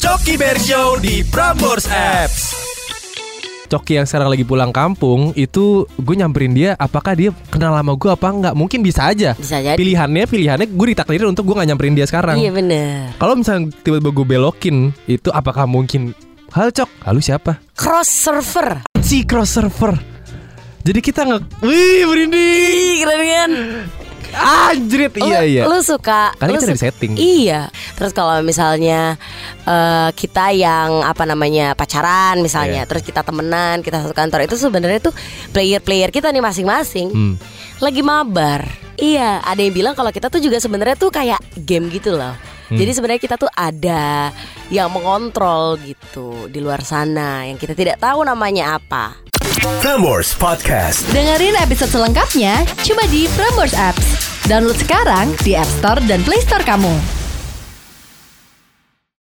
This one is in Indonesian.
Coki Bear Show di Prambors Apps. Coki yang sekarang lagi pulang kampung itu gue nyamperin dia apakah dia kenal sama gue apa enggak mungkin bisa aja Bisa jadi. pilihannya pilihannya gue ditakdirin untuk gue gak nyamperin dia sekarang Iya bener kalau misalnya tiba-tiba gue belokin itu apakah mungkin hal cok lalu siapa Cross server si cross server jadi kita nge wih merinding Ih keren kan anjrit Lu- iya iya Oh, Lu suka Karena lu kita ada suka- setting. Iya Terus kalau misalnya eh, Kita yang apa namanya Pacaran misalnya Iya. Terus kita temenan Kita satu kantor Itu sebenarnya tuh Player-player kita nih masing-masing Hmm. Lagi mabar Iya ada yang bilang kalau kita tuh juga sebenarnya tuh kayak game gitu loh Hmm. Jadi sebenarnya kita tuh ada yang mengontrol gitu di luar sana yang kita tidak tahu namanya apa. Prambors Podcast. Dengerin episode selengkapnya cuma di Prambors Apps. Download sekarang di App Store dan Play Store kamu.